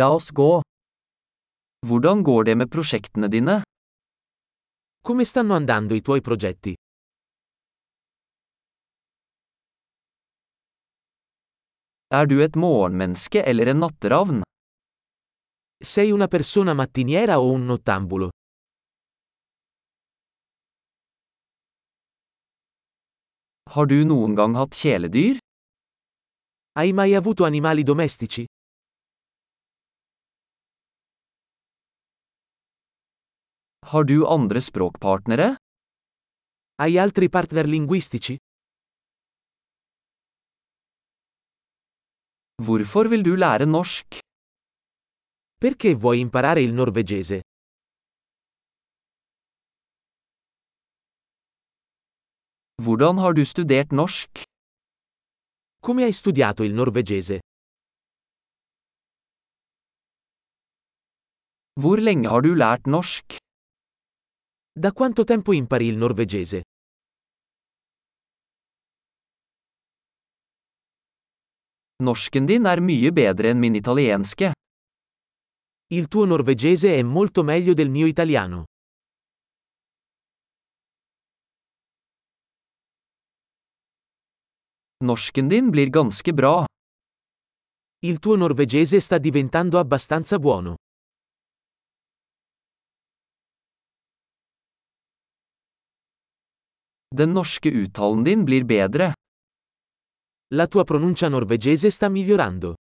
La oss gå. Hvordan går det med prosjektene dine? Come stanno andando i tuoi progetti? Er du et morgenmenneske eller en natteravn? Sei una persona mattiniera o un nottambulo? Har du noen gang hatt kjæledyr? Hai mai avuto animali domestici? Har du andre språkpartnere? Hai altri partner linguistici? Hvorfor vil du lære norsk? Perché vuoi imparare il norvegese? Hvordan har du studert norsk? Come hai studiato il norvegese? Hvor lenge har du lært norsk? Da quanto tempo impari il norvegese? Norsken din er mye bedre enn min italienske. Il tuo norvegese è molto meglio del mio italiano. Norsken din blir ganske bra. Il tuo norvegese sta diventando abbastanza buono. Den norske uttalen din blir bedre. La tua pronuncia norvegese sta migliorando.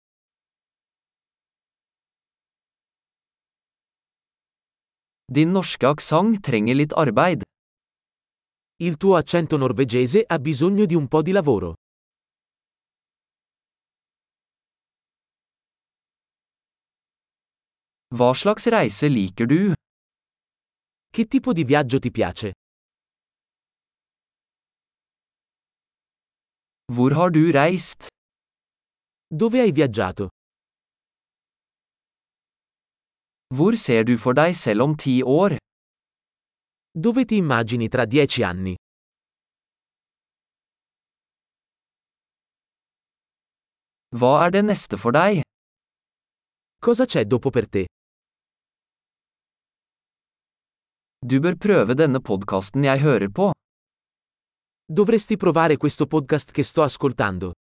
Din norske aksent trenger litt arbeid. Il tuo accento norvegese ha bisogno di un po' di lavoro. Hva slags reise liker du? Che tipo di viaggio ti piace? Hvor har du reist? Dove hai viaggiato? Hvor ser du for deg selv om ti år? Dove ti immagini tra dieci anni? Hva er det neste for deg? Cosa c'è dopo per te? Du bør prøve denne podkasten jeg hører på. Dovresti provare questo podcast che sto ascoltando.